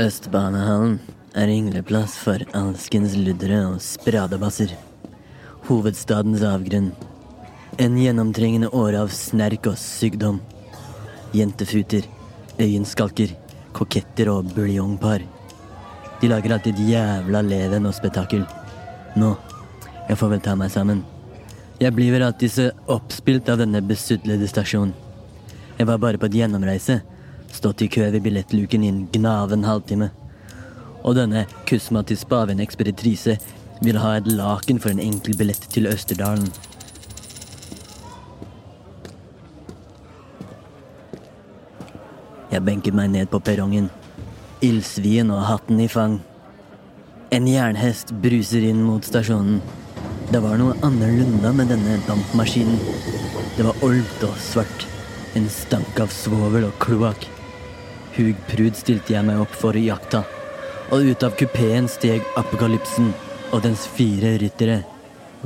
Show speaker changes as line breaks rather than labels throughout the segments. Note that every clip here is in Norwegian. Østbanehallen er yngleplass for alskens luddere og spradebasser. Hovedstadens avgrunn. En gjennomtrengende åre av snerk og sykdom. Jentefuter, øyenskalker, koketter og buljongpar. De lager alltid jævla leven og spetakkel. Nå, jeg får vel ta meg sammen. Jeg blir vel alltid så oppspilt av denne besudlede stasjonen. Jeg var bare på et gjennomreise. Stått i kø ved billettluken i en gnaven halvtime. Og denne kusmatis spaven-ekspeditrise ville ha et laken for en enkel billett til Østerdalen. Jeg benket meg ned på perrongen, ildsvien og hatten i fang. En jernhest bruser inn mot stasjonen. Det var noe annerledes med denne dampmaskinen. Det var olmt og svart. En stank av svovel og kloakk. Hugprud stilte jeg meg opp for å jakta, og ut av kupeen steg apokalypsen og dens fire ryttere.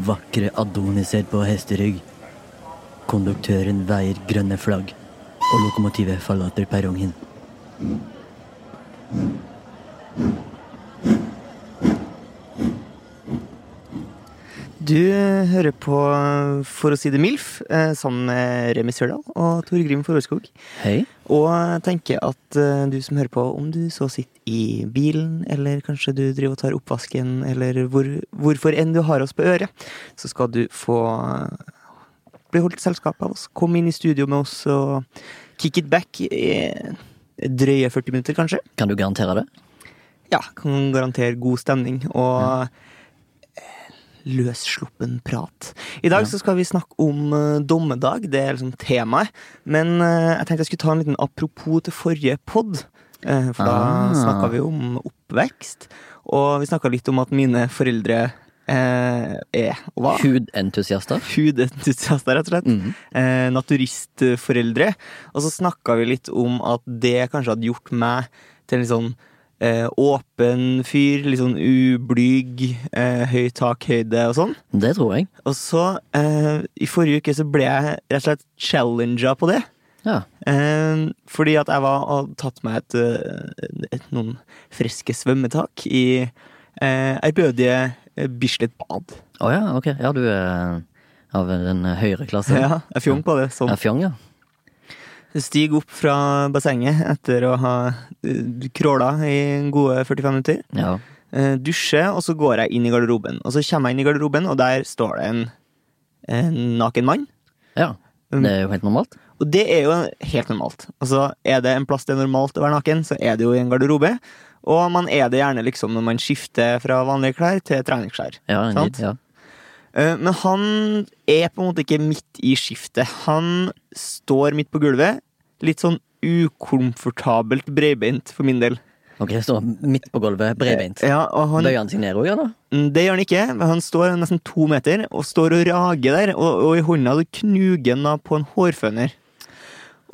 Vakre adoniser på hesterygg. Konduktøren veier grønne flagg, og lokomotivet forlater perrongen.
Du eh, hører på eh, For å si det MILF eh, sammen med Remi Sørdal og Tor Grim Forhøgskog.
Hei.
Og eh, tenker at eh, du som hører på, om du så sitter i bilen, eller kanskje du driver og tar oppvasken, eller hvor, hvorfor enn du har oss på øret, så skal du få eh, bli holdt selskap av oss. Kom inn i studio med oss og kick it back i drøye 40 minutter, kanskje.
Kan du garantere det?
Ja, kan garantere god stemning og eh, løssluppen prat. I dag så skal vi snakke om eh, dommedag, det er liksom temaet. Men eh, jeg tenkte jeg skulle ta en liten apropos til forrige pod. eh, For da
Ah.
snakka vi om oppvekst, og vi snakka litt om at mine foreldre eh, er og var
Hudentusiaster?
hudentusiaster, rett og slett.
Mhm.
Eh, naturistforeldre. Og så snakka vi litt om at det kanskje hadde gjort meg til en litt sånn eh, åpen fyr. Litt sånn ublyg, eh, høy takhøyde og sånn.
Det tror jeg.
Og så, eh, i forrige uke, så ble jeg rett og slett challenga på det.
Ja.
Eh, fordi at jeg var og tatt meg et, eh, et noen friske svømmetak i eh, ærbødige eh, Bislett bad.
Å ja, ok. Ja, du er av den høyere klassen. Ja.
Ja, jeg fjong på det som
fjong, ja.
Stig opp fra bassenget etter å ha eh, crawla i gode 45 minutter.
ja.
Eh, Dusje, og så går jeg inn i garderoben. Og så kommer jeg inn i garderoben, og der står det en, en naken mann.
Ja.
Mm.
Det er jo helt normalt.
Og det er jo helt normalt. Altså, er det en plass det er normalt å være naken, så er det jo i en garderobe. Og man er det gjerne liksom når man skifter fra vanlige klær til treningsklær.
Ja,
Sant?
ja.
Eh, Men han er på en måte ikke midt i skiftet. Han står midt på gulvet, litt sånn ukomfortabelt breibeint for min del.
Ok, står midt på gulvet, bredbeint.
Ja, og han, mm,
Bøyer han seg ned òg, da?
det gjør han ikke, men han står nesten to meter og står og rager der, og, og i hånda så knuger han da på en hårføner.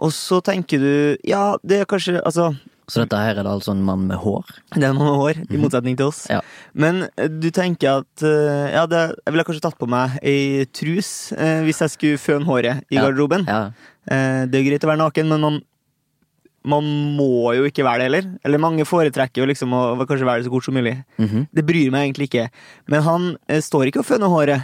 Og så tenker du, ja, det er kanskje, altså,
Så dette her er det altså en mann med hår?
det er noen år, i motsetning til oss.
Mhm. Ja.
Men eh, du tenker at, eh, ja, det, jeg ville kanskje tatt på meg ei trus eh, hvis jeg skulle føne håret i
Ja.
garderoben.
ja.
Eh, Det er jo greit å være naken, men man, man må jo ikke være det heller. Eller mange foretrekker jo liksom å å kanskje være det så kort som mulig.
Mhm.
Det bryr meg egentlig ikke. Men han eh, står ikke og føner håret.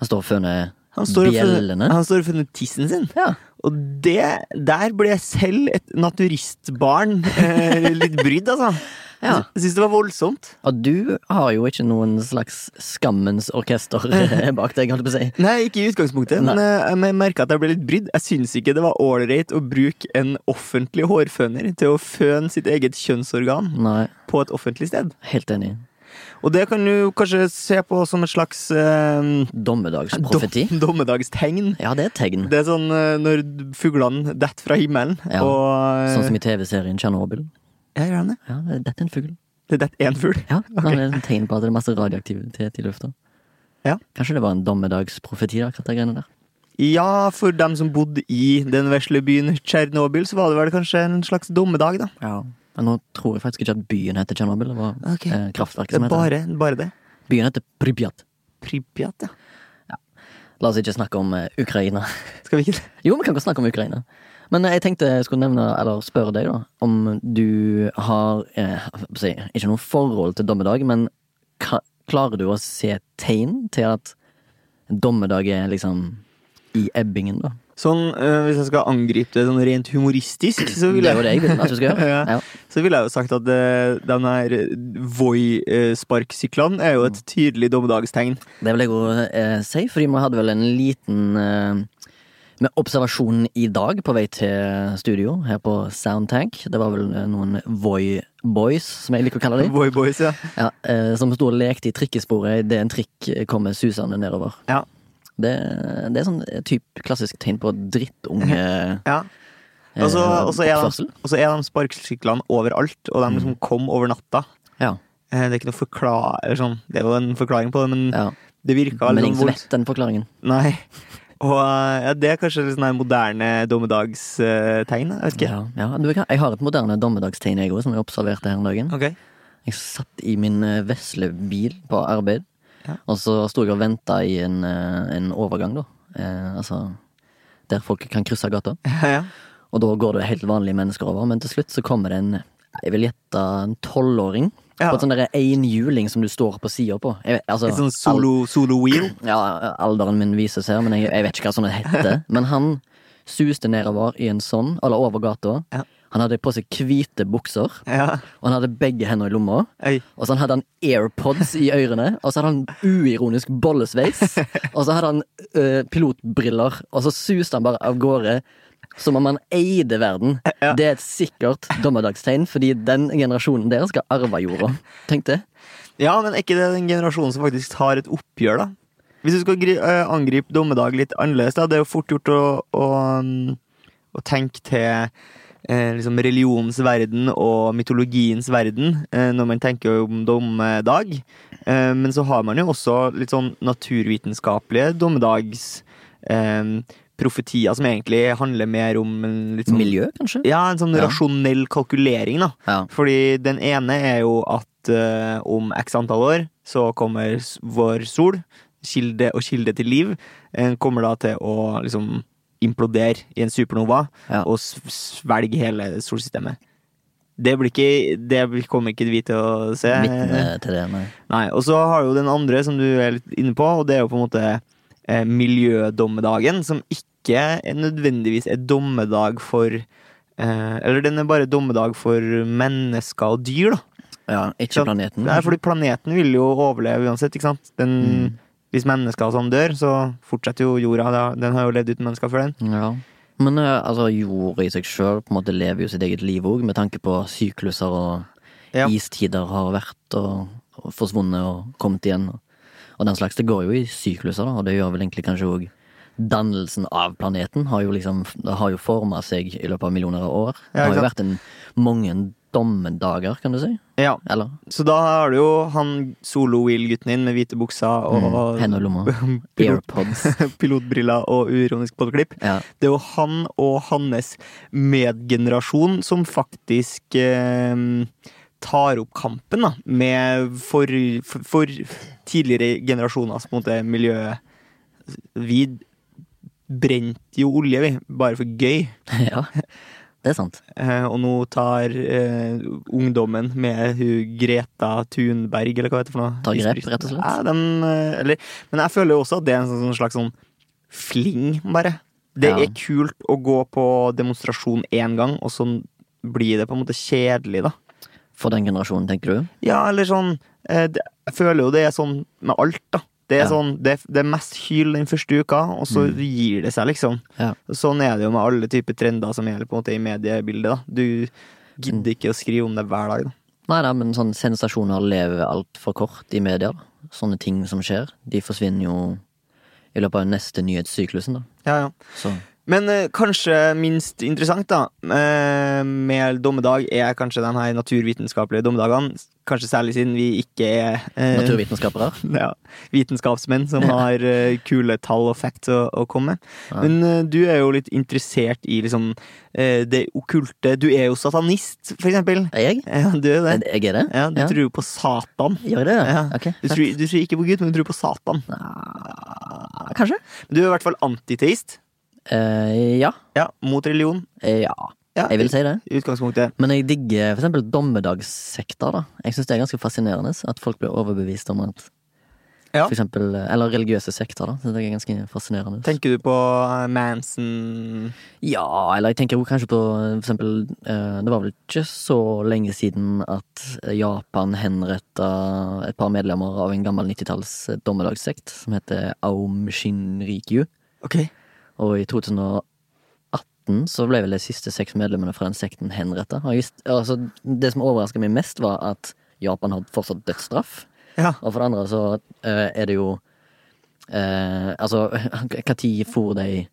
Han står og føner
Han står og føner-
bjellene?
han står og føner tissen sin.
Ja.
Og det, der ble jeg selv et naturistbarn eh, litt brydd, altså.
Ja.
Jeg syns det var voldsomt.
Og du har jo ikke noen slags skammens orkester
Eh.
bak deg, holdt jeg på å si.
Nei, ikke i utgangspunktet, men eh, jeg merka at jeg ble litt brydd. Jeg syns ikke det var ålreit å bruke en offentlig hårføner til å føne sitt eget kjønnsorgan
Nei,
på et offentlig sted.
helt enig.
Og det kan du kanskje se på som et slags eh,
Dommedagsprofeti.
dom- dommedagstegn.
Ja, det er et tegn.
Det er sånn eh, når fuglene detter fra himmelen,
Ja,
og eh,
Sånn som i TV-serien Tsjernobyl.
Ja, gjør han det?
Ja, dette er en fugl.
Det detter én fugl?
Ja, Det er et tegn på at det er masse radioaktivitet i lufta.
Ja.
Kanskje det var en dommedagsprofeti, da, akkurat de greiene der.
Ja, for dem som bodde i den vesle byen Tsjernobyl, så var det vel kanskje en slags dommedag, da.
Ja. Men nå tror jeg faktisk ikke at byen heter Tsjernobyl. Det var
Ok.
eh, kraftverket
Det
som
er
heter det.
bare, bare det.
Byen heter Pripjat.
Pripjat, ja.
La oss ikke snakke om eh, Ukraina.
Skal vi ikke det?
Jo, vi kan godt snakke om Ukraina. Men eh, jeg tenkte jeg skulle nevne, eller spørre deg, da, om du har eh, hva skal jeg si, Ikke noe forhold til dommedag, men ka- klarer du å se tegn til at dommedag er liksom i ebbingen, da?
Sånn, øh, Hvis jeg skal angripe det sånn rent humoristisk, så
Det
ville
er jo det jeg vil at du skal gjøre.
Ja.
Ja.
så ville jeg jo sagt at øh, de her Voi-sparksyklene er jo
Mm.
et tydelig dommedagstegn.
Det vil jeg òg eh, si, fordi vi hadde vel en liten eh, med observasjon i dag på vei til studio her på Soundtank. Det var vel eh, noen Voi Boys, som jeg liker å kalle dem,
Voi-boys, ja.
ja, eh, som sto og lekte i trikkesporet idet en trikk eh, kommer susende nedover.
Ja.
Det, det er sånn typ klassisk tegn på drittunge
ja. Og så
eh,
og så er,
oppførsel. Mm.
de- og så er de sparkesyklene overalt, og de liksom kom over natta.
Ja,
Eh, Det er ikke noe forkla- eller sånn, det er jo en forklaring på det, men
ja.
det virka
Men
litt
ingen
sånn
som
vondt.
vet den forklaringen.
Nei. Og eh, ja, det er kanskje litt sånn her moderne dommedagstegn. Jeg vet ikke.
Ja, ja. Du, jeg har et moderne dommedagstegn, jeg òg, som jeg observerte her om dagen.
Ok.
Jeg satt i min eh, vesle bil på arbeid,
Ja.
og så sto jeg og venta i en, eh, en overgang, da. Eh, altså der folk kan krysse gata.
Ja, ja.
Og da går det helt vanlige mennesker over, men til slutt så kommer det en jeg vil gjette en tolvåring.
Ja.
På en sånn derre enhjuling som du står på sida på. Jeg, vet- altså,
Et sånn solo, solo wheel.
al- ja, alderen min vises her, men jeg, jeg vet ikke hva sånne heter. Men han suste nedover i en sånn, eller over gata.
Ja.
Han hadde på seg hvite bukser,
Ja.
og han hadde begge hender i lomma.
Oi.
Og så hadde han airpods i ørene, og så hadde han uironisk bollesveis. Og så hadde han ø, pilotbriller, og så suste han bare av gårde. Som om han eide verden.
Ja.
Det er et sikkert dommedagstegn, fordi den generasjonen der skal arve jorda. Tenk det.
ja, men er ikke det den generasjonen som faktisk tar et oppgjør, da? Hvis du skal gri eh, angripe dommedag litt annerledes, da, det er jo fort gjort å, å, mm, å tenke til eh, liksom religionens verden og mytologiens verden eh, når man tenker om dommedag. Eh, men så har man jo også litt sånn naturvitenskapelige dommedags... Eh, Profetier som egentlig handler mer om en litt sånn
Miljø, kanskje?
Ja, en sånn
Ja.
rasjonell kalkulering, da.
Ja.
Fordi den ene er jo at eh, om x antall år så kommer s- vår sol, kilde og kilde til liv, eh, kommer da til å liksom implodere i en supernova
Ja.
og s- svelge hele solsystemet. Det, blir ikke, det blir- kommer ikke vi til å se.
Vitne til det, nei.
Nei, Og så har jo den andre som du er litt inne på, og det er jo på en måte eh, miljødommedagen, som ikke er nødvendigvis er dommedag for eh, Eller den er bare dommedag for mennesker og dyr, da.
Ja, ikke planeten.
Nei, fordi planeten vil jo overleve uansett, ikke sant? Den, Hvis mennesker og sånn dør, så fortsetter jo jorda. da. Den har jo levd uten mennesker før, den.
Ja. Men eh, altså, jorda i seg sjøl på en måte lever jo sitt eget liv òg, med tanke på sykluser og
Ja.
istider har vært og, og forsvunnet og kommet igjen. Og, og den slags. Det går jo i sykluser, da, og det gjør vel egentlig kanskje òg Dannelsen av planeten har jo liksom det har jo forma seg i løpet av millioner av år. Det
Ja,
har jo
ikke
vært en, mange dommedager, kan du si.
Ja,
Eller
Så da har du jo han solo-wheel-gutten din med hvite bukser og
hender mm, og lommer. Airpods.
pilotbriller og uironisk podklipp.
Ja.
Det er jo han og hans medgenerasjon som faktisk eh, tar opp kampen da, med for, for, for tidligere generasjoners på en måte, miljø. Vi brente jo olje, vi, bare for gøy.
ja. Det er sant.
Eh, og nå tar eh, ungdommen med hun Greta Thunberg, eller hva heter det for noe?
Tar grep,
Isbryter.
rett og slett.
Ja, den, eh, eller, men jeg føler jo også at det er en sånn, sånn slags sånn fling, bare. Det
Ja.
er kult å gå på demonstrasjon én gang, og så blir det på en måte kjedelig, da.
For den generasjonen, tenker du?
Ja, eller sånn eh, det, Jeg føler jo det er sånn med alt, da. Det er,
Ja. Mm.
sånn, det, det er mest hyl den første uka, og så gir det seg, liksom.
Ja.
Sånn er det jo med
Mm.
alle typer trender som gjelder på en måte i mediebildet. da Du gidder ikke å skrive om det hver dag. da
Nei da, men sånne sensasjoner lever altfor kort i media. da. Sånne ting som skjer, de forsvinner jo i løpet av neste nyhetssyklusen, da.
Ja, ja.
Så
Men eh, kanskje minst interessant, da, eh, med dommedag, er kanskje den her naturvitenskapelige dommedagene. Kanskje særlig siden vi ikke er eh,
naturvitenskapere.
ja, vitenskapsmenn som har eh, kule tall og facts å, å komme med.
Ja.
Men eh, du er jo litt interessert i liksom eh, det okkulte. Du er jo satanist, for eksempel.
Er jeg?
Ja, du er jo det.
Er jeg er det?
Ja, du
Ja.
tror jo på Satan.
Gjør jeg det?
Ja.
Ok.
Du tror, du tror ikke på Gud, men du tror på Satan. Ah.
Nei, Kanskje?
Du er i hvert fall antiteist.
Eh, ja.
Ja, mot religion.
Eh, ja.
Ja,
Jeg vil si det.
I utgangspunktet.
Men jeg digger for eksempel dommedagssekter, da. Jeg syns det er ganske fascinerende at folk blir overbevist om at
Ja.
For eksempel, eh, eller religiøse sekter, da. Så det er ganske fascinerende.
Tenker du på eh, Manson
Ja, eller jeg tenker jo kanskje på for eksempel eh, Det var vel ikke så lenge siden at Japan henretta et par medlemmer av en gammel 90-talls dommedagssekt som heter Aum Shinrikyu.
Ok.
Og i 2018 så ble vel de siste seks medlemmene fra den sekten henretta. Og jeg visste- Altså, det som overraska meg mest, var at Japan har fortsatt dødsstraff.
Ja.
Og for det andre så eh, er det jo eh, Altså, når for de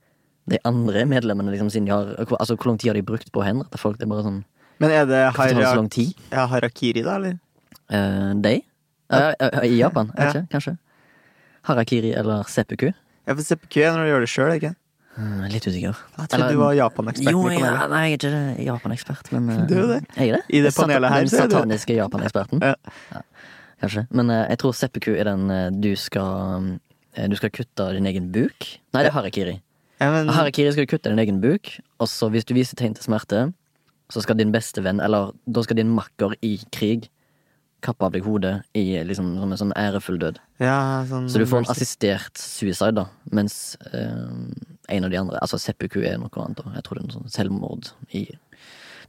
de andre medlemmene, liksom, siden de har hvor- Altså, hvor lang tid har de brukt på å henrette folk? Det er bare sånn
Men er det
Hvorfor tar det sånn så
hara
lang tid?
ja, harakiri, da, eller?
Eh, de? Eh, eh, I Japan,
Ja.
ikke? Kanskje? Harakiri eller seppuku?
Jeg får se på kø når du gjør det sjøl, ikke
Mm, Litt usikker.
Jeg
Eller-
trodde du var Japan-ekspert.
Jo,
i
jeg,
panelet.
nei, jeg er ikke det Japan-ekspert, men eh,
Du er det.
Jeg er det.
I det panelet her,
Den
så er du det.
sataniske Japan-eksperten.
Ja.
Ja, Kanskje. Men eh, jeg tror seppuku er den eh, du skal eh, Du skal kutte din egen buk. Nei, det er harakiri.
Ja, men,
Harakiri skal du kutte din egen buk, og så hvis du viser tegn til smerte, så skal din beste venn, eller da skal din makker i krig, kappe av deg hodet i liksom som en sånn ærefull død.
ja, sånn,
Så du får en assistert suicide, da, mens eh, en av de andre Altså seppuku er noe annet, da. Jeg tror det er noe sånn selvmord i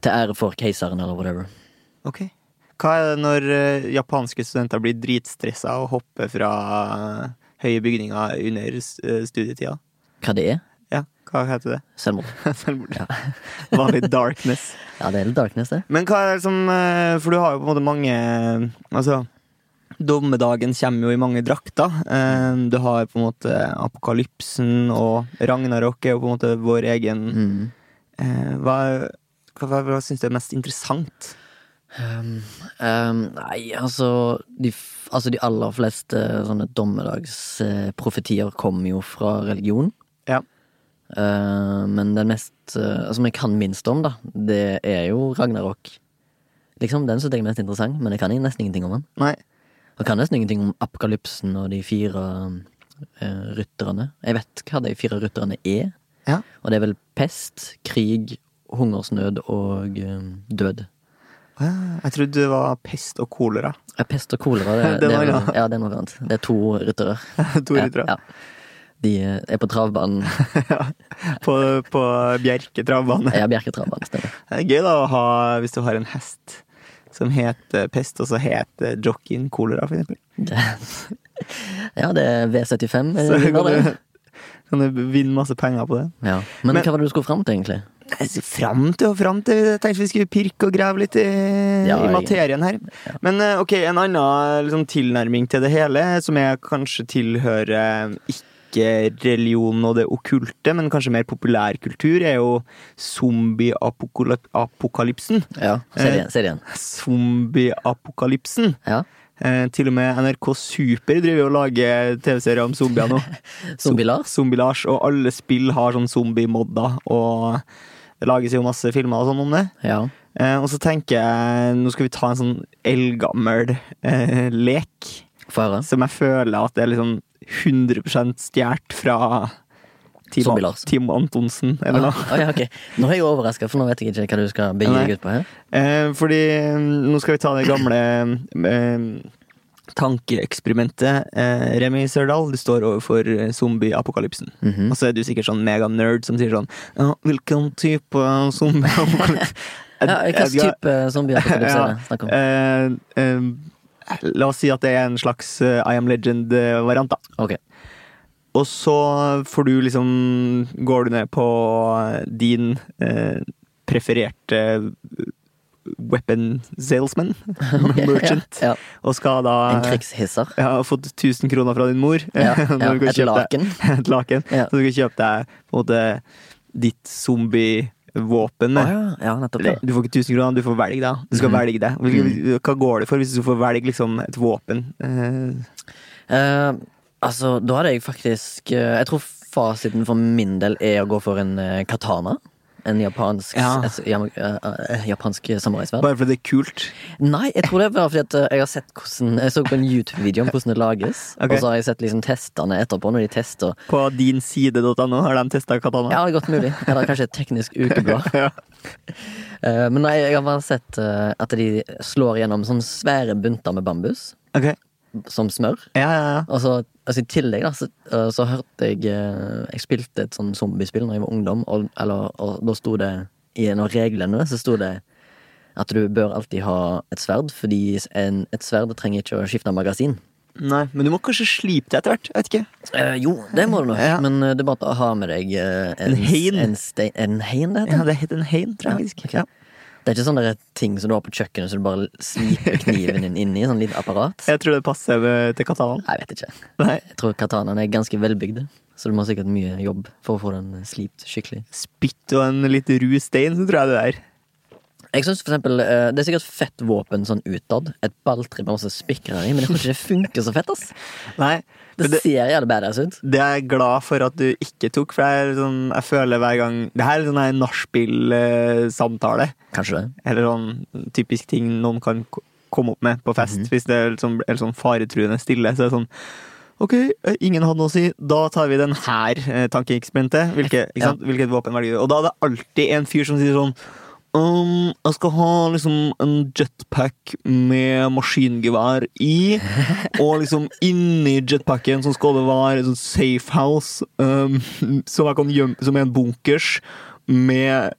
Til ære for keiseren, eller whatever.
Ok. Hva er det når eh, japanske studenter blir dritstressa og hopper fra eh, høye bygninger under s- eh, studietida?
Hva det er?
Ja, hva heter det?
Selvmord.
Selvmord. Vanlig darkness.
Ja, det er litt darkness, det.
Men hva er det som eh, For du har jo på en måte mange eh, Altså Dommedagen kommer jo i mange drakter. Eh, Du har på en måte apokalypsen, og Ragnarok er jo på en måte vår egen
Mm.
eh, Hva, hva, hva, hva syns du er mest interessant?
Um, um, nei, altså de, f- altså de aller fleste sånne dommedagsprofetier kommer jo fra religion.
Ja.
Eh, men den mest eh, Som jeg kan minst om, da, det er jo Ragnarok. Liksom, Den synes jeg er mest interessant, men jeg kan nesten ingenting om den.
Nei.
Jeg kan nesten ingenting om apokalypsen og de fire eh, rytterne. Jeg vet hva de fire rytterne er.
Ja.
Og det er vel pest, krig, hungersnød og eh, død.
Ah, Jeg trodde det var pest og kolera.
Ja, pest og kolera, det,
Det
det,
var
er,
bra.
ja, det er noe annet. Det er to ryttere.
Tore, tror jeg.
Ja, ja. De eh, er på travbanen.
På, på Bjerke travbane.
Ja, Bjerketravanen, stemmer.
Det er gøy da å ha, hvis du har en hest som heter pest, og så heter jockeyen kolera, for eksempel.
Det. Ja, det er V75. eh,
Så kan
vinner det.
du, kan du vinne masse penger på det.
Ja. Men,
Men-
hva var det du skulle fram til, egentlig?
Nei, så Fram til og fram til. Jeg tenkte vi skulle pirke og grave litt i,
Ja,
i
jeg-
materien her. Men eh, ok, en annen eh, liksom, tilnærming til det hele, som jeg kanskje tilhører ikke religion og det okkulte, men kanskje mer populærkultur, er jo zombie-apokalypsen.
Ja, Eh. Se det igjen. Se det igjen.
Zombie-apokalypsen.
Ja.
Eh, til og med NRK Super driver jo og lager TV-serier om zombier nå.
Zombie-Lars?
Zombie-Lars, og alle spill har sånn zombie-modder, og det lages jo masse filmer og sånn om det.
Ja.
Eh, og så tenker jeg, nå skal vi ta en sånn eldgammel eh, lek,
Få høre.
som jeg føler at er liksom 100 stjålet fra Team,
Zombie-Lars.
Team Antonsen, eller
Ah,
noe.
ah, ja, ok. Nå er jeg overraska, for nå vet jeg ikke hva du skal begi
Nei.
deg ut på her.
Eh, fordi eh, nå skal vi ta det gamle eh, tankeeksperimentet. Eh, Remi Sørdal, du står overfor eh, zombie-apokalypsen.
Mhm.
Og så er du sikkert sånn meganerd som sier sånn ja, Hvilken type zombie-apokalypse
Ja, Hvilken type eh, zombie-apokalypse er det snakk om?
eh, eh, La oss si at det er en slags eh, I am legend-variant, da.
Ok.
Og så får du liksom Går du ned på din eh, prefererte weapon salesman, merchant,
Ja, ja.
og skal da
En krigshisser.
Jeg har fått 1000 kroner fra din mor.
Ja,
Når
ja,
du kan
et
kjøpe deg-
laken.
et laken.
Ja.
Så du kan kjøpe deg på en måte ditt zombievåpen.
Å ja, Mhm. ja, nettopp.
Eller,
Ja.
Du får ikke 1000 kroner, du får velge deg. Du skal velge deg. Hvilke- Hva går det for hvis du får velge liksom, et våpen? Eh,
Eh, altså, da hadde jeg faktisk eh, Jeg tror fasiten for min del er å gå for en eh, katana. En japansk,
Ja.
et, jam- eh, eh, japansk samuraisverd.
bare fordi det er kult.
Nei, jeg tror det er bare fordi at eh, jeg har sett hvordan Jeg så på en YouTube-video om hvordan det lages.
Ok.
Og så har jeg sett liksom testene etterpå, når de tester.
På dinside.no har de testa katana.
Ja, det er godt mulig. Eller kanskje et teknisk ukeblad.
Ja.
Eh, men nei, jeg har bare sett eh, at de slår gjennom sånne svære bunter med bambus
Ok.
som smør.
Ja, ja, ja.
Og så, altså, I tillegg da, så, eh, så hørte jeg eh, Jeg spilte et sånn zombiespill Når jeg var ungdom, og, eller, og da sto det i en av reglene så sto det at du bør alltid ha et sverd, fordi en, et sverd trenger ikke å skifte magasin.
Nei, men du må kanskje slipe deg etter hvert. Jeg vet ikke.
Eh, jo, det må du nok,
Ja.
men eh, det er bare å ha med deg eh,
En hein.
En, stein, en hein, det heter
Ja, det het en hein, tror jeg. faktisk.
ok.
Ja.
Det er ikke sånne der ting som du har på kjøkkenet som du bare sliper kniven din inn i. Sånn lite apparat.
Jeg tror det passer med, til katanaen.
Jeg vet ikke.
Nei.
Jeg tror katanaen er ganske velbygd, så du må sikkert mye jobb for å få den slipt skikkelig.
Spytt og en litt ru stein, så tror jeg det er.
Jeg synes for eksempel, eh, Det er sikkert fett våpen sånn utad. Et balltre med masse spikrer i, men jeg tror ikke det funker så fett. ass
Nei.
Det
men det-
ser jævlig badass ut.
Det er jeg glad for at du ikke tok, for jeg, er sånn, jeg føler hver gang Det her eh, er sånn en nachspiel-samtale.
Kanskje det.
Eller sånn typisk ting noen kan ko- komme opp med på fest, hvis det er litt sånn, eller sånn faretruende stille. Så er det sånn Ok, eh, ingen hadde noe å si. Da tar vi den her eh, tankeeksperimentet. Hvilke, ikke
Ja.
sant? Hvilket våpen velger du? Og da er det alltid en fyr som sier sånn «Um, jeg skal ha liksom en jetpack med maskingevær i. Og liksom inni jetpacken så skal det være et sånt safe house um, som, jeg kan gjemme, som er en bunkers med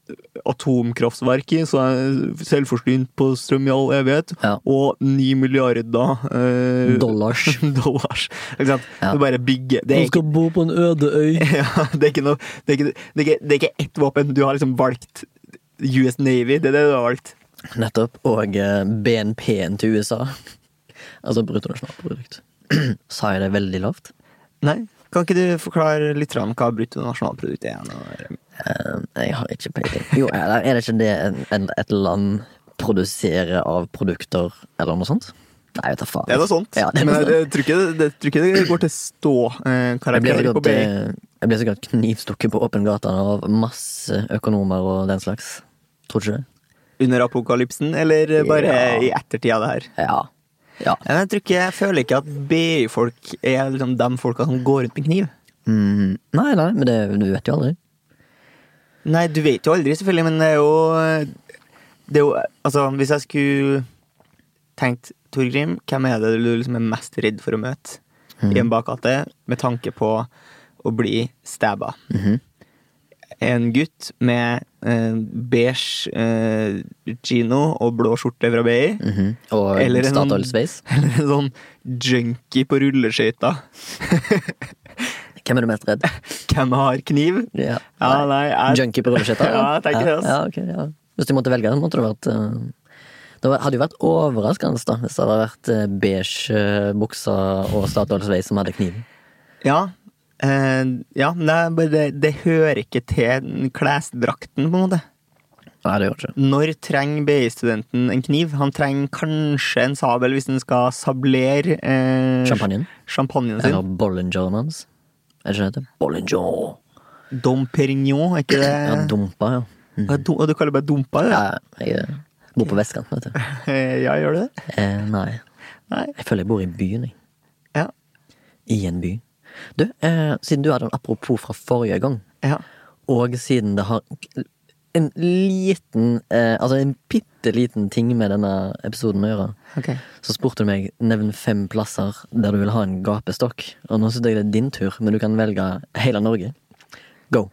atomkraftverk i, så jeg er selvforsynt på strøm i all evighet.
Ja.
Og ni milliarder eh,
Dollars.
dollars. Ikke sant?
Ja.
Du bare bygger. Det er ikke
bo på en øde øy.
ja, det er ikke noe Det er ikke, det er ikke, det er ikke ett våpen. Du har liksom valgt US Navy. Det er det du har valgt.
Nettopp. Og eh, BNP-en til USA. Altså bruttonasjonalprodukt. Sa jeg det veldig lavt?
Nei. Kan ikke du forklare litt grann hva bruttonasjonalprodukt er? nå?
Eh, jeg har ikke peiling. Jo, eller er det ikke det en, en, et land produserer av produkter, eller noe sånt? Nei, jeg tar faen.
Det er noe sånt.
Ja, det er
Men
noe
jeg,
sånt.
jeg, tror ikke, det- jeg tror ikke det går
Jeg
til
ble
stå-karakterer på
sikkert,
BI.
eh, jeg ble sikkert knivstukket på åpen gata av masse økonomer og den slags. Tror du ikke det?
Under apokalypsen, eller bare
Ja.
i ettertid av det her?
Ja. ja.
Ja, men Jeg, tror ikke, jeg føler ikke at BI-folk er liksom de folka som går rundt med kniv.
Mm, nei, nei, men det, du vet jo aldri.
Nei, du vet jo aldri, selvfølgelig, men det er jo, det er jo Altså, hvis jeg skulle tenkt Torgrim, hvem er det du liksom er mest redd for å møte i en bakgate med tanke på å bli stabba? En gutt med eh, beige eh, gino og blå skjorte fra BI.
Mhm. Og
Eller en
Statoil
sånn-
Space.
Eller en sånn junkie på rulleskøyter.
Hvem er du mest redd?
Hvem har kniv?
Ja.
Ja, nei, jeg,
Junkie på rulleskøyter?
Ja, jeg tenker det, ass.
Ja, ja, ok, ja. Hvis du måtte velge, så måtte det vært eh, Det var- hadde jo vært overraskende da, hvis det hadde vært eh, beige eh, bukser og Statoil Sveis som hadde kniven.
Ja. Eh, ja, men det, er bare, det, det hører ikke til klesdrakten, på en måte.
Nei, det gjør det ikke.
Når trenger BI-studenten en kniv? Han trenger kanskje en sabel hvis han skal sablere eh,
Champagnen.
champagnen sin.
Eller Bollinger Mans. Er det ikke det det heter? Bollinger.
Dom Perignon, er ikke det?
Ja, dumpa, ja. Hm.
Hva er dum- og du kaller det bare dumpa?
ja
Ja.
jeg eh, bor på vestkanten, vet du.
ja, gjør du det?
Eh, nei.
Nei.
Jeg føler jeg bor i byen, jeg.
Ja.
I en by. Du, eh, siden du hadde en apropos fra forrige gang,
ja.
og siden det har en liten eh, Altså en bitte liten ting med denne episoden å gjøre,
Ok.
så spurte du meg nevn fem plasser der du vil ha en gapestokk. Og nå synes jeg det er din tur, men du kan velge hele Norge. Go.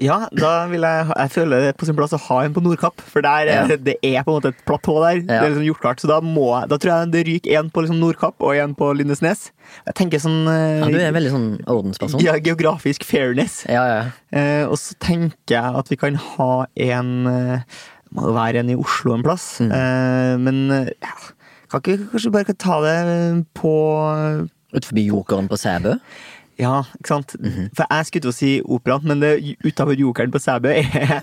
Ja, da vil jeg ha- Jeg føler det er på sin plass å ha en på Nordkapp, for der, er-
Ja.
det er på en måte et platå der. Det er liksom gjort klart, så da må jeg Da tror jeg det ryker én på liksom Nordkapp og én på Lindesnes. Jeg tenker sånn eh,
Ja, du er en veldig sånn ordensperson.
ja, geografisk fairness.
ja, ja.
Eh, og så tenker jeg at vi kan ha en eh, Må jo være en i Oslo en plass.
Mm.
Eh, men eh, ja, kan ikke kanskje bare ta det eh, på
Utenfor jokeren på Sæbø.
Ja, ikke sant?
Mhm.
For jeg skulle til å si operaen, men det utafor jokeren på Sæbø er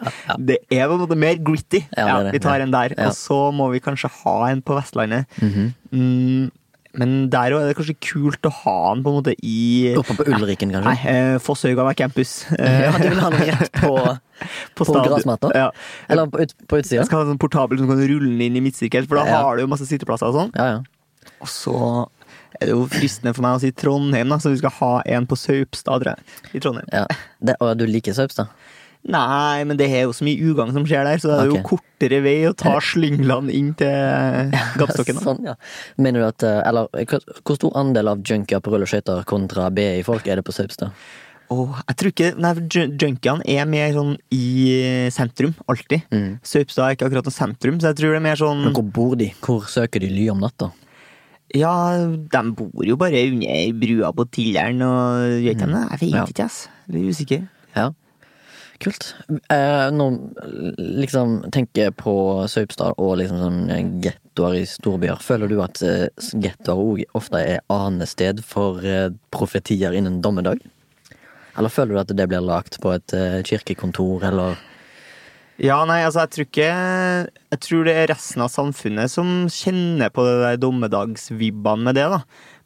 Det er på en måte mer gritty.
Ja, det er det.
vi tar en der.
Ja. Mhm.
Og så må vi kanskje ha en på Vestlandet. mm, men der òg er det kanskje kult å ha den på en måte i
Oppe på Ulriken, kanskje.
Nei, eh, Fosshøgane campus. Eh,
Ja, du vil ha den rett på
på
på
stadion.
gressmatta?
Ja.
Eller på, ut, på utsida?
Jeg skal ha en sånn portabel som kan rulle den inn i midtsirkel, for da
Ja.
har du jo masse sitteplasser og sånn.
Ja, ja.
Og så er det jo fristende for meg å si Trondheim, da, så vi skal ha en på Saupstad tror jeg, i Trondheim.
ja. Det, og du liker Saupstad?
Nei, men det er jo så mye ugagn som skjer der, så det er jo
Ok.
kortere vei å ta slyngland inn til Gappstokken. da.
Sånn, ja. Mener du at eh, Eller hva- hvor stor andel av junkier på rulleskøyter kontra BI-folk er det på Saupstad?
Åh, jeg tror ikke Nei, for jun- junkiene er mer sånn i sentrum, alltid.
Mm.
Saupstad er ikke akkurat noe sentrum, så jeg tror det er mer sånn
Men Hvor bor de? Hvor søker de ly om natta?
Ja, de bor jo bare under brua på Tilleren og gjør ikke de det? Jeg vet
Ja.
ikke, ass. Jeg blir usikker.
Ja. Kult. Eh, nå liksom tenker jeg på Saupstad og liksom sånn gettoer i storbyer. Føler du at eh, gettoer òg ofte er anested for eh, profetier innen dommedag? Eller føler du at det blir lagt på et eh, kirkekontor, eller
Ja, nei, altså, jeg tror ikke Jeg tror det er resten av samfunnet som kjenner på det der dommedagsvibbene med det, da.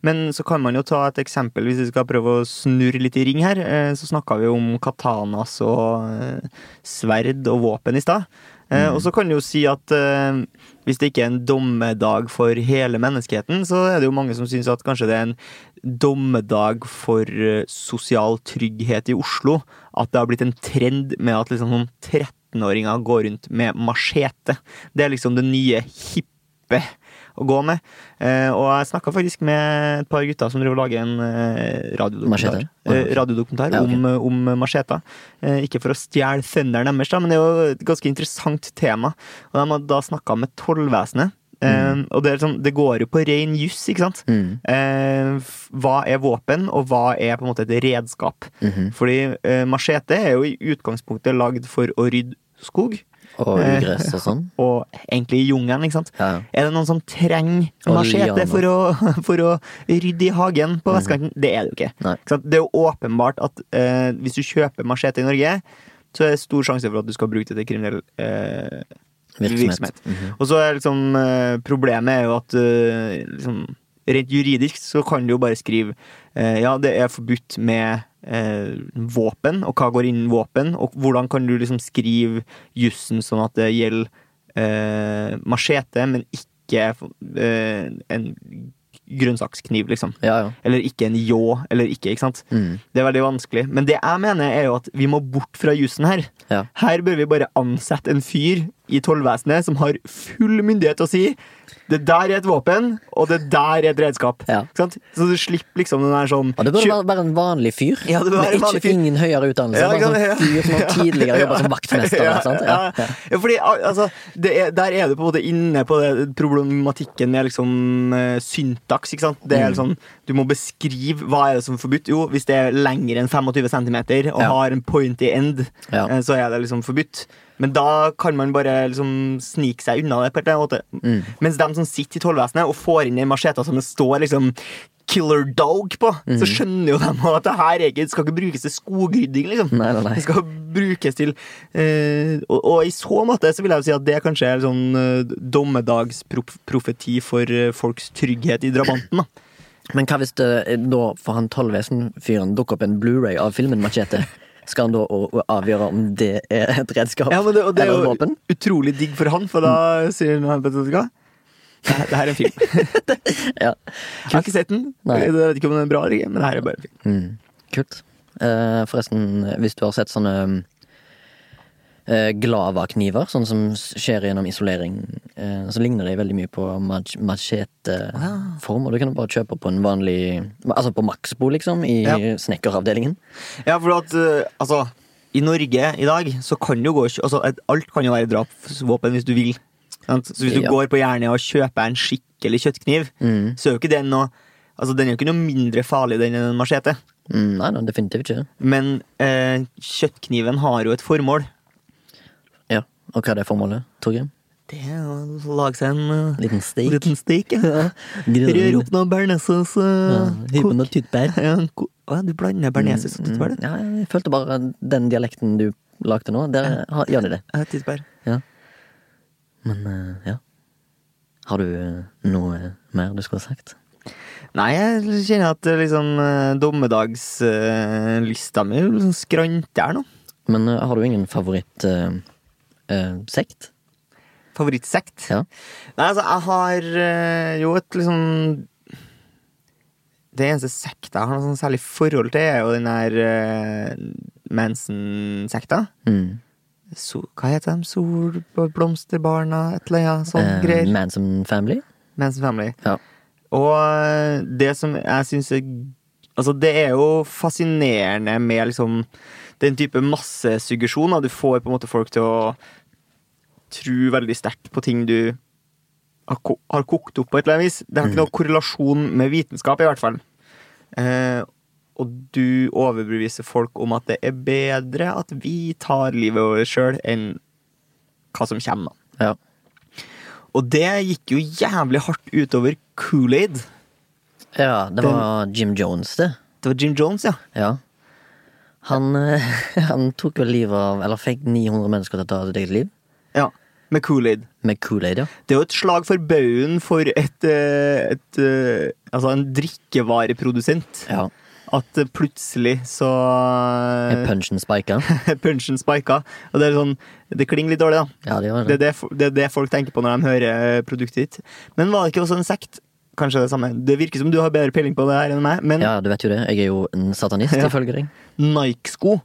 Men så kan man jo ta et eksempel, hvis vi skal prøve å snurre litt i ring her. eh, Så snakka vi om katanas og eh, sverd og våpen i stad. Eh, Og så kan du jo si at eh, hvis det ikke er en dommedag for hele menneskeheten, så er det jo mange som syns at kanskje det er en dommedag for eh, sosial trygghet i Oslo. At det har blitt en trend med at liksom sånn 13-åringer går rundt med machete. Det er liksom det nye hippe å gå med. Eh, og jeg snakka faktisk med et par gutter som driver og lager en eh, radiodokumentar,
Machete? Ja, ok.
eh, radiodokumentar
Ja, ok.
om, om macheta. Eh, ikke for å stjele thunderen deres, da, men det er jo et ganske interessant tema. Og de har da snakka med tollvesenet. Eh, og det, er sånn, det går jo på ren juss, ikke sant?
Mm.
Eh, f- hva er våpen, og hva er på en måte et redskap?
mhm. Mm.
Fordi eh, machete er jo i utgangspunktet lagd for å rydde skog,
og
Eh,
ugress og sånn?
og egentlig i jungelen, ikke sant?
Ja.
Er det noen som trenger
Og
machete
lianer.
for å, for å rydde i hagen på vestkanten? Det er det jo ikke.
Mhm. Nei.
Ikke sant? Det er jo åpenbart at eh, hvis du kjøper machete i Norge, så er det stor sjanse for at du skal bruke det til kriminell eh, virksomhet.
Virksomhet. Mhm.
Og så er liksom eh, problemet er jo at eh, liksom, rent juridisk så kan du jo bare skrive eh, ja, det er forbudt med eh, våpen, og hva går innen våpen, og hvordan kan du liksom skrive jussen sånn at det gjelder eh, machete, men ikke eh, en grønnsakskniv, liksom.
Ja, ja.
Eller ikke en ljå, eller ikke, ikke sant.
Mm.
Det er veldig vanskelig. Men det jeg mener, er jo at vi må bort fra jussen her.
Ja.
Her bør vi bare ansette en fyr i tollvesenet som har full myndighet til å si det der er et våpen, og det der er et redskap.
Ja.
Ikke sant? Så du slipper liksom den der sånn
Og det burde
kjøp-
være, være en vanlig fyr.
Ja, det burde være en
ikke
vanlig fyr.
ingen høyere utdannelse.
Ja,
bare
ikke
en
sant?
sånn fyr som har tidligere jobba som vaktmester.
Ja,
sant? Ja.
ja. Ja, fordi al- altså, det er, Der er du på en måte inne på det, problematikken med liksom eh, syntaks. ikke sant? Det
Mm.
er liksom, Du må beskrive hva er det som er forbudt. Jo, hvis det er lengre enn 25 cm og
Ja.
har en pointy end,
Ja.
eh, så er det liksom forbudt. Men da kan man bare liksom snike seg unna det. på en eller annen måte.
Mm.
Mens de som sitter i tollvesenet og får inn en machete som det står liksom Killer dog på,
Mm.
så skjønner jo de at det her er ikke, skal ikke brukes til skogrydding. liksom.
Nei, nei, nei.
Det skal brukes til eh, og, og i så måte så vil jeg jo si at det kanskje er sånn eh, dommedagsprofeti for eh, folks trygghet i drabanten. da.
Men hva hvis det, da for han tollvesenfyren dukker opp en Blu-ray av filmen Machete? Skal han da å- å avgjøre om det er et redskap
Ja, men det, og det er
eller et
jo
våpen?
utrolig digg for han, for da sier han vet du hva? Det her- det her er en film.
Ja.
Jeg har ikke sett den.
Nei.
Jeg vet ikke om den er bra, eller ikke, men det her er bare en film.
Mm. Kult. Eh, forresten, hvis du har sett sånne eh, Glava-kniver, sånne som skjer gjennom isolering, eh, så ligner de veldig mye på mach machete-form. Og du kan bare kjøpe på en vanlig Altså på Maxbo, liksom, i
Ja.
snekkeravdelingen.
Ja, for at, eh, altså, i Norge i dag så kan jo gå altså, et- Alt kan jo være drapsvåpen hvis du vil. Sant? Så hvis du
Ja.
går på Jernia og kjøper en skikkelig kjøttkniv, så er jo ikke den noe Altså, Den er jo ikke noe mindre farlig enn en machete,
Mm, nei, nei, definitivt ikke.
men eh, kjøttkniven har jo et formål.
Ja. Og hva er det formålet, Torgrim?
Det er å lage seg en eh,
Liten steak?
liten steak. Ja. Rør opp noe bearnéssaus.
Ja, Hyr på
Uh,
noe tyttbær.
ja, en ko- Å ja, du blander bearnéssaus og tyttebær, du?
Mm, Ja, jeg følte bare den dialekten du lagde nå, der har- gjør de det.
Ja, tyttebær.
Men eh, ja. Har du eh, noe mer du skulle ha sagt?
Nei, jeg kjenner at eh, liksom eh, dommedagslista mi liksom skranter her nå.
Men eh, har du ingen favorittsekt? Eh, sekt?
Favorittsekt.
ja.
Nei, altså, jeg har eh, jo et liksom Det eneste sekta jeg har noe sånn særlig forhold til, er jo den der eh, Manson-sekta.
Mm.
So, hva heter de? Solblomsterbarna, et eller annet sånn
Eh,
greier.
Manson Family?
Manson Family.
Ja.
Og eh, det som jeg syns er Altså, det er jo fascinerende med liksom den type massesuggesjon. da. Du får på en måte folk til å tro veldig sterkt på ting du har, ko har kokt opp på et eller annet vis. Det har ikke noe korrelasjon med vitenskap, i hvert fall. Eh, og du overbeviser folk om at det er bedre at vi tar livet over sjøl, enn hva som kommer, da.
ja.
Og det gikk jo jævlig hardt utover Kool-Aid.
Ja, det var Jim Jones, det.
Det var Jim Jones, ja.
Ja. Han, eh, han tok vel livet av Eller fikk 900 mennesker til å ta sitt eget liv
ja med Kool-Aid.
med Kool-Aid, ja.
Det er jo et slag for baugen for et, eh, et eh, Altså en drikkevareprodusent.
ja.
At eh, plutselig så Eh.
Er punchen spika?
er punchen spika. Og det er sånn Det klinger litt dårlig, da.
Ja, det gjør
Det er
det.
det, fo- det er det folk tenker på når de hører eh, produktet ditt. Men var det ikke også en sekt? Kanskje det samme. Det virker som du har bedre peiling på det her enn meg, men
Ja, du vet jo det. Jeg er jo en satanist,
Ja.
ifølge deg.
Nike-sko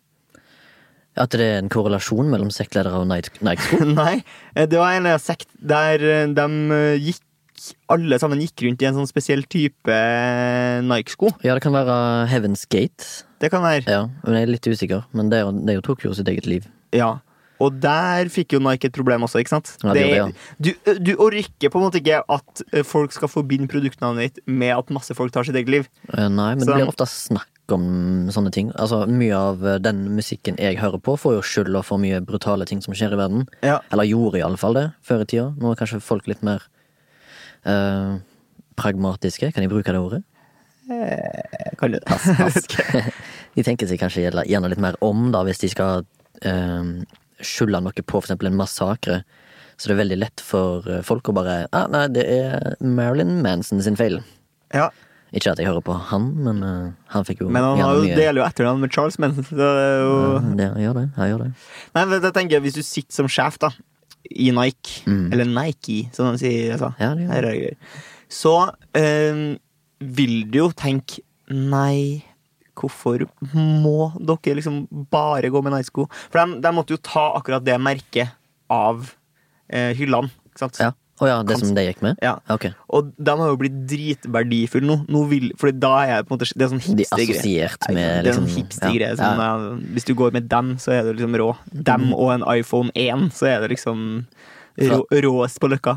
At det er en korrelasjon mellom sektledere og Nike- Nike-sko?
Nei, eh, det var en eller annen sekt der eh, de eh, gikk alle sammen gikk rundt i en sånn spesiell type eh, Nike-sko.
Ja, det kan være Heaven's Gate.
Det kan være.
Ja, men Jeg er litt usikker, men det, er jo- det er jo tok jo sitt eget liv.
Ja. Og der fikk jo Nike et problem også, ikke sant?
Ja, det gjorde det,
du, eh, du orker på en måte ikke at eh, folk skal forbinde produktnavnet ditt med at masse folk tar sitt eget liv.
Eh, Nei, men
Så-
det blir ofte snakk om sånne ting. Altså, Mye av eh, den musikken jeg hører på, får jo skylda for mye brutale ting som skjer i verden.
Ja.
Eller gjorde iallfall det før i tida. Nå er kanskje folk litt mer eh, pragmatiske. Kan jeg bruke det ordet?
Jeg kan jo det.
De tenker seg kanskje gjerne- gjerne litt mer om da, hvis de skal eh, skylde noe på f.eks. en massakre. Så det er veldig lett for eh, folk å bare ah, Nei, det er Marilyn Manson sin feil.
ja.
Ikke at jeg hører på han, men eh, han fikk jo
Men han har
gjerne
jo,
mye-
deler jo etternavn med Charles Manson. Så det er jo...
Ja, det- han gjør det. Han gjør det.
Nei, men jeg tenker Hvis du sitter som sjef da i Nike, eller Nike, som de sier i USA,
Mm. Ja, det gjør
Her er det greier. så eh, vil du jo tenke Nei, hvorfor må dere liksom bare gå med Nike-sko? For de, de måtte jo ta akkurat det merket av eh, hyllene. Ikke sant?
Ja. Å ja, det
Kan-
som det gikk med?
Ja.
Ok.
Og de har jo blitt dritverdifulle nå. nå vil, for da er jeg på en måte Det er sånn
De
hipstergreie.
assosiert
Nei,
med
det er
liksom,
sånn hipstergreie.
ja,
sånn,
ja.
eh, Hvis du går med dem, så er du liksom rå. Dem og en iPhone 1, så er det liksom rå, råest på løkka.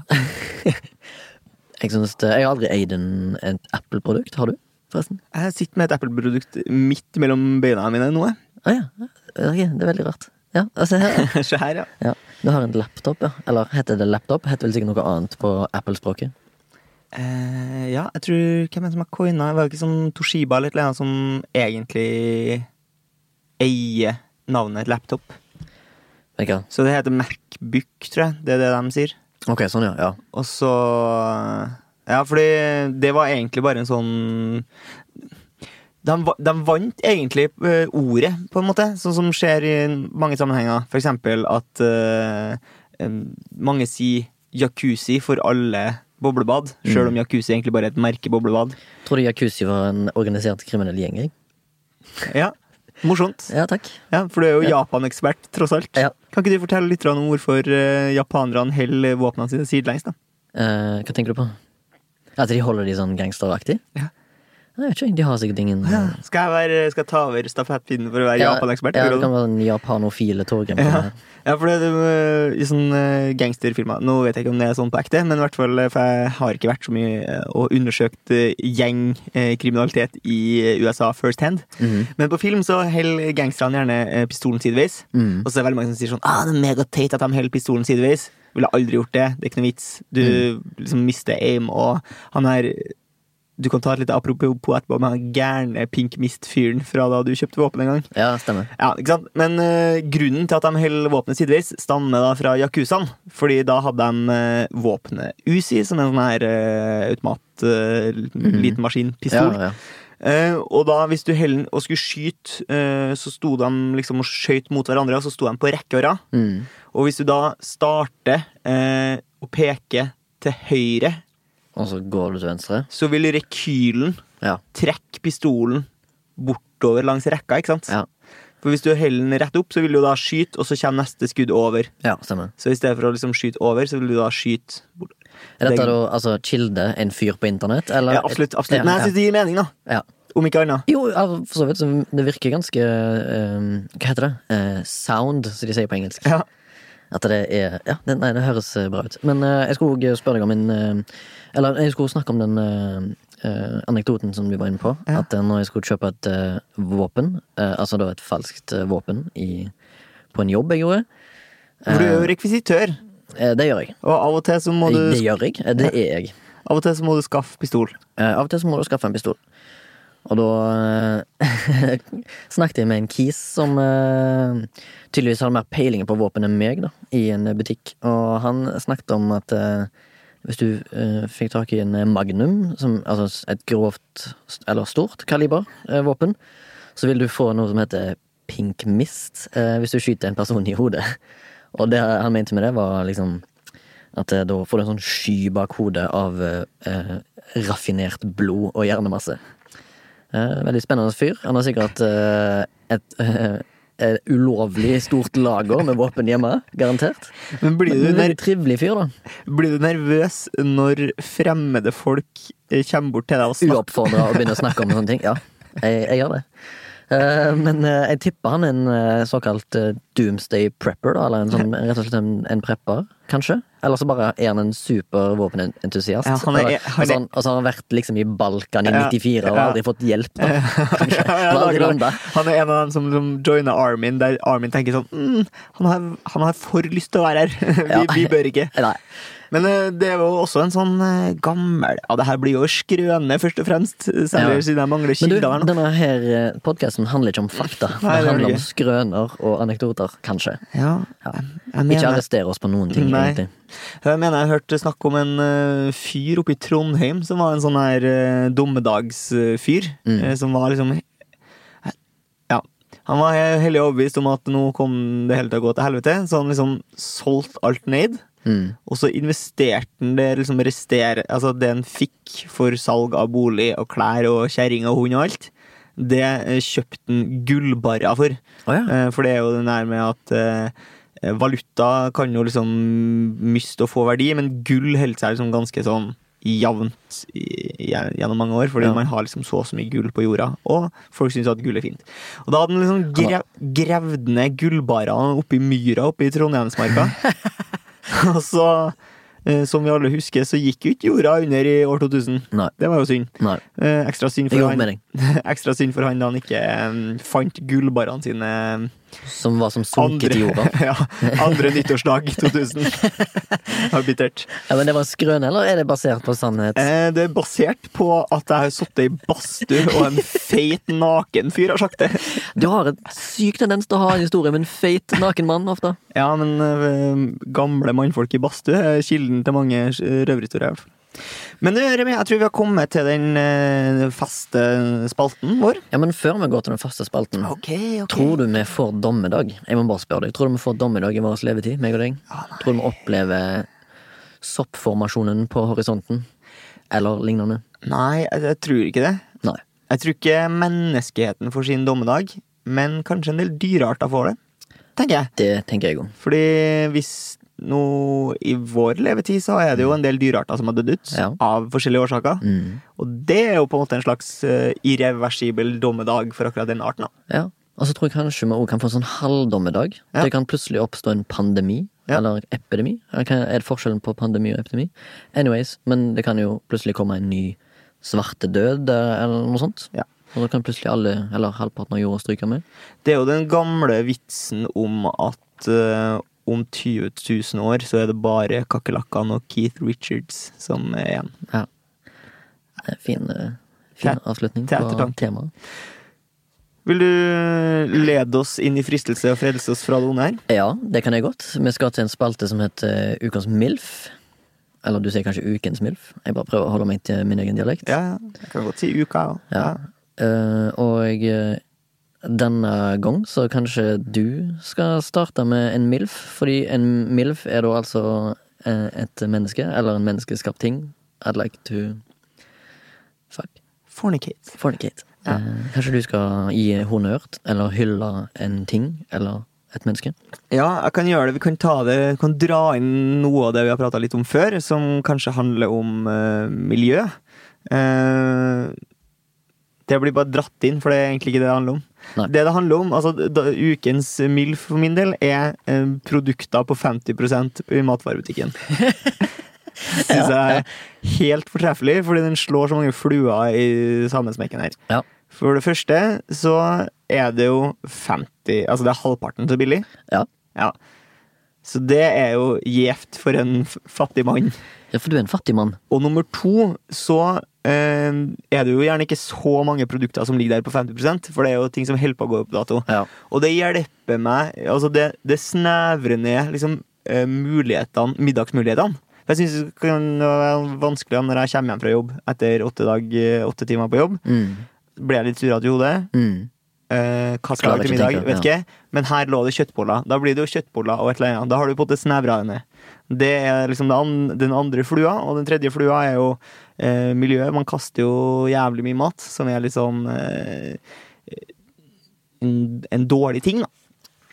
Jeg, synes det, jeg har aldri eid en, et Apple-produkt. Har du, forresten?
Jeg sitter med et Apple-produkt midt mellom beina mine nå. jeg.
Å ja. Ok, det er veldig rart. Ja, altså her.
Se her, ja.
Ja. Du har en laptop, ja. Eller heter det laptop? Heter vel sikkert noe annet på Apple-språket.
Eh, ja, jeg tror Hvem er det som har coina? Var det ikke sånn Toshiba eller et eller annet som egentlig eier navnet et laptop?
Vet ikke hva.
Så det heter Macbook, tror jeg. Det er det de sier.
Ok, sånn ja. ja.
Og så Ja, fordi det var egentlig bare en sånn de, va- de vant egentlig eh, ordet, på en måte, sånn som skjer i mange sammenhenger. For eksempel at eh, em, mange sier jacuzzi for alle boblebad, sjøl
Mm.
om jacuzzi egentlig bare er et merke boblebad.
Tror du Jacuzzi var en organisert kriminell gjeng? Jeg?
Ja, Morsomt.
Ja, takk.
Ja, For du er jo Japan-ekspert, tross alt.
Ja.
Kan ikke du fortelle litt om hvorfor eh, japanerne holder våpnene sine sidelengs? da?
Altså, Eh, hva tenker du på? At de holder de sånn gangsteraktig?
Ja.
Nei, Jeg vet ikke, de har sikkert ingen
Ja. Skal jeg, være, skal jeg ta over stafettpinnen for å være Japan-ekspert?
Ja,
eller
det
noe?
kan være en japanofile Torgrim.
Ja. Ja, for det, det, øh, i sånne øh, gangsterfilmer Nå vet jeg ikke om det er sånn på ekte, men i hvert fall, øh, for jeg har ikke vært så mye øh, og undersøkt øh, gjengkriminalitet i øh, USA first hand.
Mhm.
Men på film så holder gangsterne gjerne øh, pistolen sideveis.
Mhm.
Og så er det veldig mange som sier sånn ah, det er megateit at de holder pistolen sideveis. Ville aldri gjort det. Det er ikke noe vits. Du liksom mister aim, og han her Du kan ta et lite apropos på etterpå med han gærne Pink Mist-fyren fra da du kjøpte våpen en gang.
ja, stemmer.
Ja, ikke sant? Men eh, grunnen til at de holder våpenet sideveis, stammer da fra Yakuzaen. Fordi da hadde de eh, våpenet Uzi, som er en sånn her eh, automat, eh, l- liten maskin, pistol.
Mhm. Ja, ja.
Eh, og da, hvis du heller og skulle skyte, eh, så sto de liksom og skjøt mot hverandre, og så sto de på rekke og rad.
Mhm.
Og hvis du da starter eh, og peker til høyre,
Og så går du til venstre.
så vil rekylen
Ja.
trekke pistolen bortover langs rekka, ikke sant?
Ja.
For hvis du heller den rett opp, så vil du da skyte, og så kommer neste skudd over.
ja, stemmer.
Så i stedet for å liksom skyte over, så vil du da skyte bort.
Er dette
Det-
da altså kilde, en fyr på internett, eller?
Ja, absolutt. absolutt.
Ja,
Men jeg
ja.
syns det gir mening, da.
Ja.
Om ikke annet.
Jo, ja, for så vidt. så Det virker ganske eh, Hva heter det? Eh, sound, som de sier på engelsk.
Ja.
At det er Ja, det, nei, det høres eh, bra ut. Men eh, jeg skulle også spørre deg om en eh, Eller jeg skulle snakke om den eh, eh, anekdoten som du var inne på. At eh, når jeg skulle kjøpe et eh, våpen, eh, altså da et falskt eh, våpen, i, på en jobb jeg gjorde
For du er jo rekvisitør,
eh, Det gjør jeg.
og av og til så må du,
Det gjør jeg. Eh, Det er jeg.
av og til så må du skaffe pistol.
Eh, av og til så må du skaffe en pistol. Og da eh, snakket jeg med en kis som eh, tydeligvis hadde mer peiling på våpen enn meg, da, i en butikk. Og han snakket om at eh, hvis du eh, fikk tak i en magnum, som, altså s- et grovt eller stort kaliber eh, våpen, så vil du få noe som heter pink mist eh, hvis du skyter en person i hodet. Og det han mente med det, var liksom at eh, da får du en sånn sky bak hodet av eh, eh, raffinert blod og hjernemasse. Eh, veldig spennende fyr. Han har sikkert eh, et eh, eh, ulovlig stort lager med våpen hjemme, garantert.
Men blir du,
Men
ner
veldig trivelig fyr, da.
blir du nervøs når fremmede folk eh, kommer bort til deg og snakker?
Uoppfordra å begynne å snakke om sånne ting. Ja, jeg, jeg gjør det. Eh, men eh, jeg tipper han er en eh, såkalt eh, doomsday prepper, da. Eller en, sånn, rett og slett en, en prepper, kanskje. Eller så bare er han en super våpenentusiast.
Ja, han er-
Eller- og, så
han er-
har han, og så har han vært liksom i Balkan i
Ja,
94 og
ja.
aldri fått hjelp, da. Kanskje.
Ja,
Han har
det
aldri
er
landet.
klart. Han er en av dem som, som joiner Armin, der Armin tenker sånn mm, han, har, han har for lyst til å være her. vi,
Ja.
vi bør ikke.
Nei.
Men eh, det er jo også en sånn eh, gammel Ja, det her blir jo skrøne, først og fremst. Særlig
Ja.
siden jeg mangler
Men du,
kilder her nå.
denne her podkasten handler ikke om fakta. den
Nei, det gjør det
handler om
ikke.
skrøner og anekdoter, kanskje.
Ja,
Ja.
jeg, jeg
Ikke
mener
arrester oss på noen ting,
Nei.
egentlig.
Jeg mener jeg hørte snakk om en eh, fyr oppe i Trondheim som var en sånn her eh, dommedagsfyr.
Mm.
eh, som var liksom Ja. Han var he- hellig overbevist om at nå kom det hele til å gå til helvete, så han liksom solgte alt ned.
Mm.
Og så investerte han det liksom restere, altså det han fikk for salg av bolig og klær og kjerring og hund og alt. Det eh, kjøpte han gullbarrer for.
Å ja.
Eh, For det er jo den der med at eh, valuta kan jo liksom miste og få verdi, men gull holder seg liksom ganske sånn jevnt i- gjen- gjennom mange år, fordi
Ja.
man har liksom så og så mye gull på jorda, og folk syns at gull er fint. Og da hadde han liksom grev, gravd ned gullbarene oppi myra oppe i Trondheimsmarka. og så, eh, som vi alle husker, så gikk jo ikke jorda under i år 2000.
Nei.
Det var jo synd.
Nei.
Eh, Ekstra synd
Jeg
for
jobber med
han,
deg.
ekstra synd for han da han ikke eh, fant gullbarene sine eh,
Som var som sunket i jorda.
ja, andre nyttårsdag 2000. Det var bittert.
Ja, men det var en skrøne, eller er det basert på sannhet?
Eh, Det er basert på at jeg har sittet i badstue, og en feit, naken fyr har sagt det.
Du har en syk tendens til å ha en historie med en feit naken mann, ofte.
Ja, men eh, gamle mannfolk i badstue er kilden til mange eh, røverhistorier. i hvert fall. Men du, Remi, jeg tror vi har kommet til den eh, faste spalten vår.
Ja, men før vi går til den faste spalten, tror du vi får dommedag? Jeg må bare spørre deg. Tror du vi får dommedag i vår levetid, meg og deg? tror du vi opplever soppformasjonen på horisonten? Eller lignende?
Nei, jeg, jeg tror ikke det.
Nei.
Jeg tror ikke menneskeheten får sin dommedag, men kanskje en del dyrearter får det. Tenker jeg.
Det tenker jeg om.
Fordi hvis nå i vår levetid så er det jo en del dyrearter som har dødd ut
Mm. Ja.
av forskjellige årsaker.
Mm.
Og det er jo på en måte en slags eh, irreversibel dommedag for akkurat den arten. da.
Ja. Og så tror jeg kanskje vi også kan få en sånn halvdommedag.
Ja.
Det kan plutselig oppstå en pandemi.
Ja.
Eller epidemi. Eller hva Er det forskjellen på pandemi og epidemi? Anyways, men det kan jo plutselig komme en ny svartedød eh, eller noe sånt.
Ja.
Og da kan plutselig alle, eller halvparten av jorda stryke med.
Det er jo den gamle vitsen om at eh, om 20 000 år så er det bare kakerlakkene og Keith Richards som er igjen.
Ja. Det er Fin, eh, fin
Til-
avslutning
til
på
ettertanke.
temaet.
Vil du eh, lede oss inn i fristelse og frelse oss fra det onde her?
Ja, det kan jeg godt. Vi skal til en spalte som heter eh, Ukas MILF. Eller du sier kanskje Ukens MILF. Jeg bare prøver å holde meg til min egen dialekt.
Ja, ja. jeg kan godt si uka. ja.
Ja.
Ja.
Eh, og eh, denne gang så kanskje du skal starte med en MILF, fordi en MILF er da altså eh, et menneske, eller en menneskeskapt ting. I'd like to Fuck.
Fornicate.
Fornicate. Eh, kanskje du skal gi honnør, t- eller hylle en ting, eller et menneske?
Ja, jeg kan gjøre det. Vi kan, ta det. vi kan dra inn noe av det vi har prata litt om før, som kanskje handler om eh, miljø. Eh, det blir bare dratt inn, for det er egentlig ikke det det handler om.
Nei.
Det det handler om, altså da, Ukens MILF for min del er eh, produkter på 50 i matvarebutikken. Syns jeg er helt fortreffelig, fordi den slår så mange fluer i sammensmekken her.
Ja.
For det første så er det jo 50 Altså det er halvparten så billig.
Ja.
Ja. Så det er jo gjevt for en f- fattig mann.
ja, for du er en fattig mann.
Og nummer to, så eh, er det jo gjerne ikke så mange produkter som ligger der på 50 for det er jo ting som holder på å gå ut på dato.
Ja.
Og det hjelper meg Altså, det, det snevrer ned liksom eh, mulighetene, middagsmulighetene. For jeg syns det kan være vanskelig når jeg kommer hjem fra jobb etter åtte, dag, eh, åtte timer på jobb.
Mm.
Blir jeg litt surrete i hodet.
Mm.
Eh, hva skal jeg
Klarer
lage til
ikke å
middag?
tenke,
Vet ikke. Men her lå det kjøttboller. Da blir det jo kjøttboller og et eller annet. Da har du på en måte snevra det ned. Det er liksom det an- den andre flua, og den tredje flua er jo eh, miljøet. Man kaster jo jævlig mye mat, som er litt sånn eh, en, en dårlig ting, da.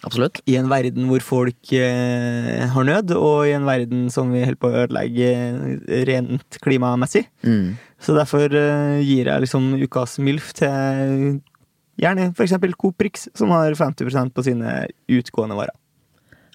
Absolutt.
I en verden hvor folk eh, har nød, og i en verden som vi holder på å ødelegge eh, rent klimamessig.
Mm.
Så derfor eh, gir jeg liksom ukas MILF til gjerne f.eks. Coop Rix, som har 50 på sine utgående varer.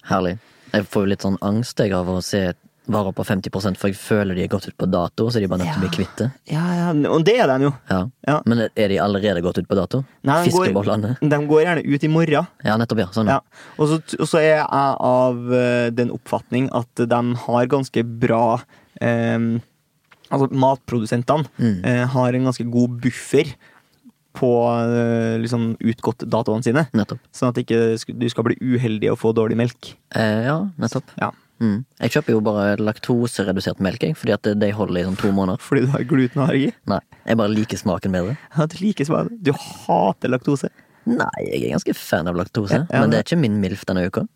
Herlig. Jeg får jo litt sånn angst jeg, av å se varer på 50 for jeg føler de er gått ut på dato, så de er bare nødt til å bli
Ja.
kvitt det.
Ja, ja, og det er de jo.
Ja.
Ja.
Men er de allerede gått ut på dato?
Nei, den går-
Fiskebollene?
De går gjerne ut i morgen.
Ja, nettopp, ja. Sånn.
Ja. Og, så, og så er jeg av eh, den oppfatning at de har ganske bra eh, Altså matprodusentene
Mm.
eh, har en ganske god buffer på eh, liksom utgått datoene sine.
Nettopp.
Sånn at ikke sk- du skal bli uheldig og få dårlig melk.
Eh, ja, nettopp.
Ja.
Mm. Jeg kjøper jo bare laktoseredusert melk, jeg, fordi at de holder i sånn to måneder.
Fordi du har glutenallergi?
Nei, Jeg bare liker smaken bedre.
Ja, du liker smak. Du hater laktose.
Nei, jeg er ganske fan av laktose,
Ja, ja,
men det er ikke min MILF denne uka.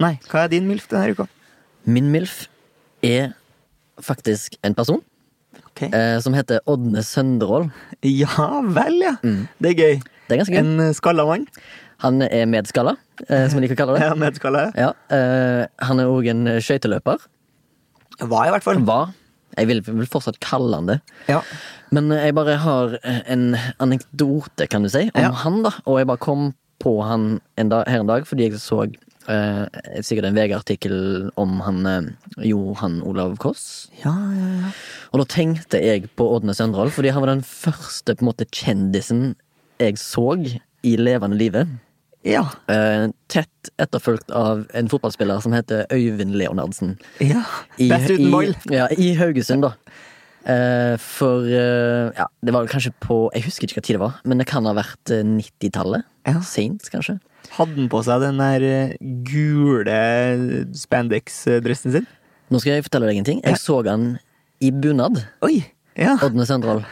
Nei, hva er din MILF denne uka?
Min MILF er faktisk en person
Ok.
eh, som heter Ådne Sønderål.
Ja vel, ja. Det er gøy.
Mm. Det er ganske gøy.
En eh, skalla mann.
Han er medskalla, eh, som jeg liker å kalle det.
Ja, medskalla. ja.
Ja, eh, han er òg en skøyteløper.
Var i hvert fall.
Var. Jeg vil, vil fortsatt kalle han det.
Ja.
Men eh, jeg bare har eh, en anekdote, kan du si, om
Ja.
han, da. Og jeg bare kom på han en dag, her en dag fordi jeg så eh, sikkert en VG-artikkel om han eh, Johan Olav Koss.
Ja, ja, ja.
Og da tenkte jeg på Ådne Søndrål, fordi han var den første på en måte kjendisen jeg så i levende live.
Ja.
Eh, tett etterfulgt av en fotballspiller som heter Øyvind Leonardsen.
ja.
I,
Best uten ball.
I, ja, I Haugesund, da. Eh, for eh, ja, det var vel kanskje på Jeg husker ikke hva tid det var, men det kan ha vært eh, 90-tallet.
Ja.
Seint, kanskje.
Hadde han på seg den der eh, gule eh, spandex-dressen sin?
Nå skal jeg fortelle deg en ting. Jeg så han i bunad,
Oi! Ja.
Ådne Søndrål.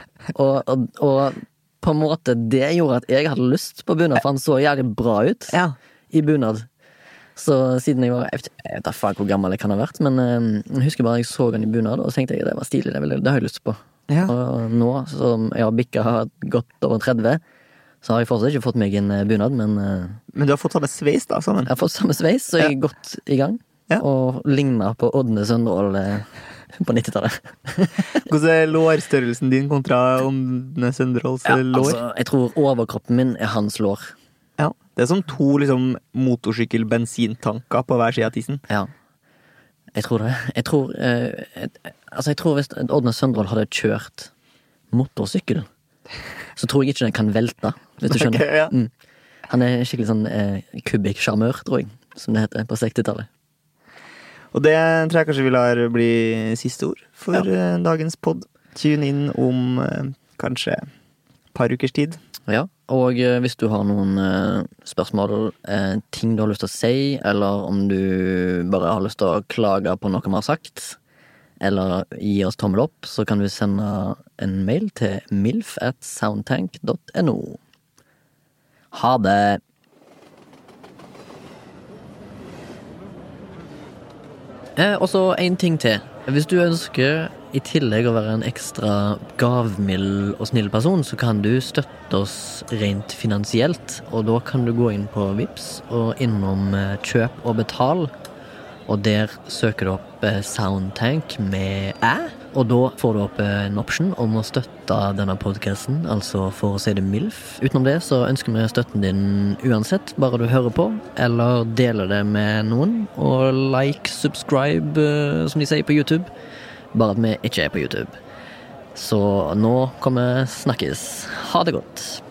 Og, og, og på en måte det gjorde at jeg hadde lyst på bunad, for han så jævlig bra ut
ja.
i bunad. Så siden jeg var Jeg vet- jeg vet da faen hvor gammel jeg kan ha vært, men eh, jeg husker bare jeg så han i bunad, og så tenkte jeg det var stilig, det, vil, jeg- det har jeg lyst på.
Ja.
Og nå som jeg har bikka godt over 30, så har jeg fortsatt ikke fått meg en eh, bunad, men eh,
Men du har fått samme sveis, da, sammen?
jeg har fått samme sveis, så jeg er godt i gang.
Ja.
og ligna på Ådne Søndrål eh, på 90-tallet.
Hvordan er lårstørrelsen din kontra Åndene Søndråls
Ja,
lår?
altså, jeg tror overkroppen min er hans lår.
Ja. Det er som to liksom, motorsykkel-bensintanker på hver side av tissen.
Ja. Jeg tror det. Jeg tror, eh, et- altså jeg tror hvis Ådne Søndrål hadde kjørt motorsykkel, så tror jeg ikke den kan velte, hvis du skjønner.
Ok, ja.
mm. Han er skikkelig sånn eh, kubikksjarmør, tror jeg, som det heter på 60-tallet.
Og det tror jeg kanskje vi lar bli siste ord for eh, dagens pod. Tune inn om eh, kanskje et par ukers tid.
Ja, og eh, hvis du har noen eh, spørsmål, eh, ting du har lyst til å si, eller om du bare har lyst til å klage på noe vi har sagt, eller gi oss tommel opp, så kan du sende en mail til milf at soundtank.no. Ha det! Eh, og så en ting til. Hvis du ønsker i tillegg å være en ekstra gavmild og snill person, så kan du støtte oss rent finansielt. Og da kan du gå inn på VIPS og innom eh, kjøp og betal. Og der søker du opp eh, Soundtank med æ. Og da får du opp eh, en option om å støtte denne podkasten, altså for å si det MILF. Utenom det så ønsker vi støtten din uansett, bare du hører på, eller deler det med noen. Og like, subscribe, eh, som de sier på YouTube. Bare at vi ikke er på YouTube. Så nå kommer Snakkes. Ha det godt.